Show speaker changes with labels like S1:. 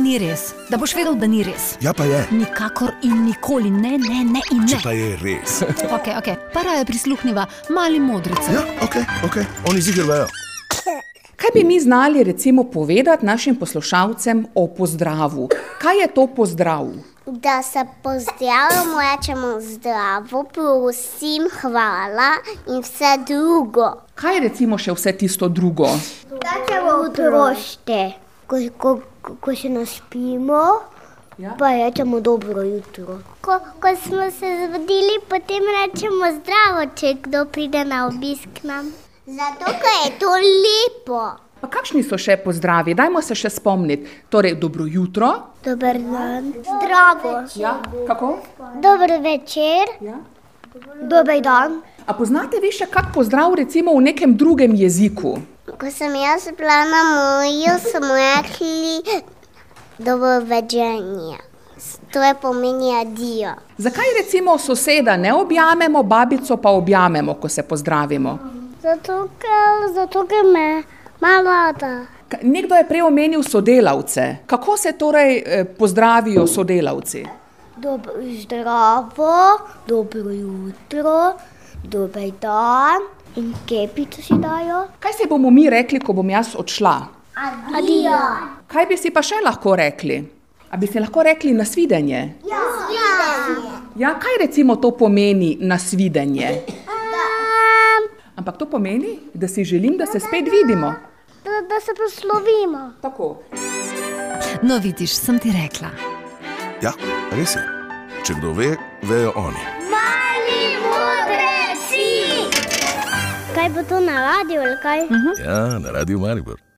S1: ni res, da boš vedel, da ni res.
S2: Ja, pa je.
S1: Nikakor in nikoli, ne, ne, ne in
S2: Če
S1: ne.
S2: pa je res.
S1: Okay, okay. Para je prisluhnila, mali modrice.
S2: Ja, ok, ok, oni zigrajo.
S3: Kaj bi mi znali recimo povedati našim poslušalcem o pozdravu? Kaj je to pozdrav?
S4: Da se pozdravimo, rečemo zdravo, prosim, hvala in vse drugo.
S3: Kaj je recimo še vse tisto drugo?
S4: Rečemo otrošte, ko, ko, ko, ko se naspimo.
S3: Ja.
S4: Pa rečemo dobro jutro. Ko, ko smo se zbudili, potem rečemo zdravo, če kdo pride na obisk k nam. Zato, ker je to lepo.
S3: Pa kakšni so še pozdravi? Dajmo se še spomniti. Torej, dobro jutro.
S4: Dober dan. Zdravo.
S3: Ja, kako?
S4: Dober večer.
S3: Ja.
S4: Dober dan.
S3: A poznate vi še kak pozdrav recimo v nekem drugem jeziku?
S4: Ko sem jaz bila na morju, smo rekli dobro večerje. To je pomeni adijo.
S3: Zakaj recimo soseda ne objamemo, babico pa objamemo, ko se pozdravimo?
S4: Zato, ker, zato, ker me malo da.
S3: K- Nekdo je prej omenil sodelavce. Kako se torej eh, pozdravijo sodelavci?
S4: Dobro zdravo, dobro jutro, dober dan. In kepico si dajo?
S3: Kaj se bomo mi rekli, ko bom jaz odšla?
S4: Adijo.
S3: Kaj bi si pa še lahko rekli? A bi si lahko rekli nasvidenje?
S4: Ja. ja.
S3: Ja, kaj recimo to pomeni nasvidenje? Ampak to pomeni, da si želim, da se spet vidimo.
S4: Da, da se poslovimo.
S3: Tako.
S1: No, vidiš, sem ti rekla.
S2: Ja, res je. Če kdo ve, vejo oni.
S4: Mali modreci! Kaj bo to na radiju ali kaj?
S2: Ja, Mhm. na radiju Maribor.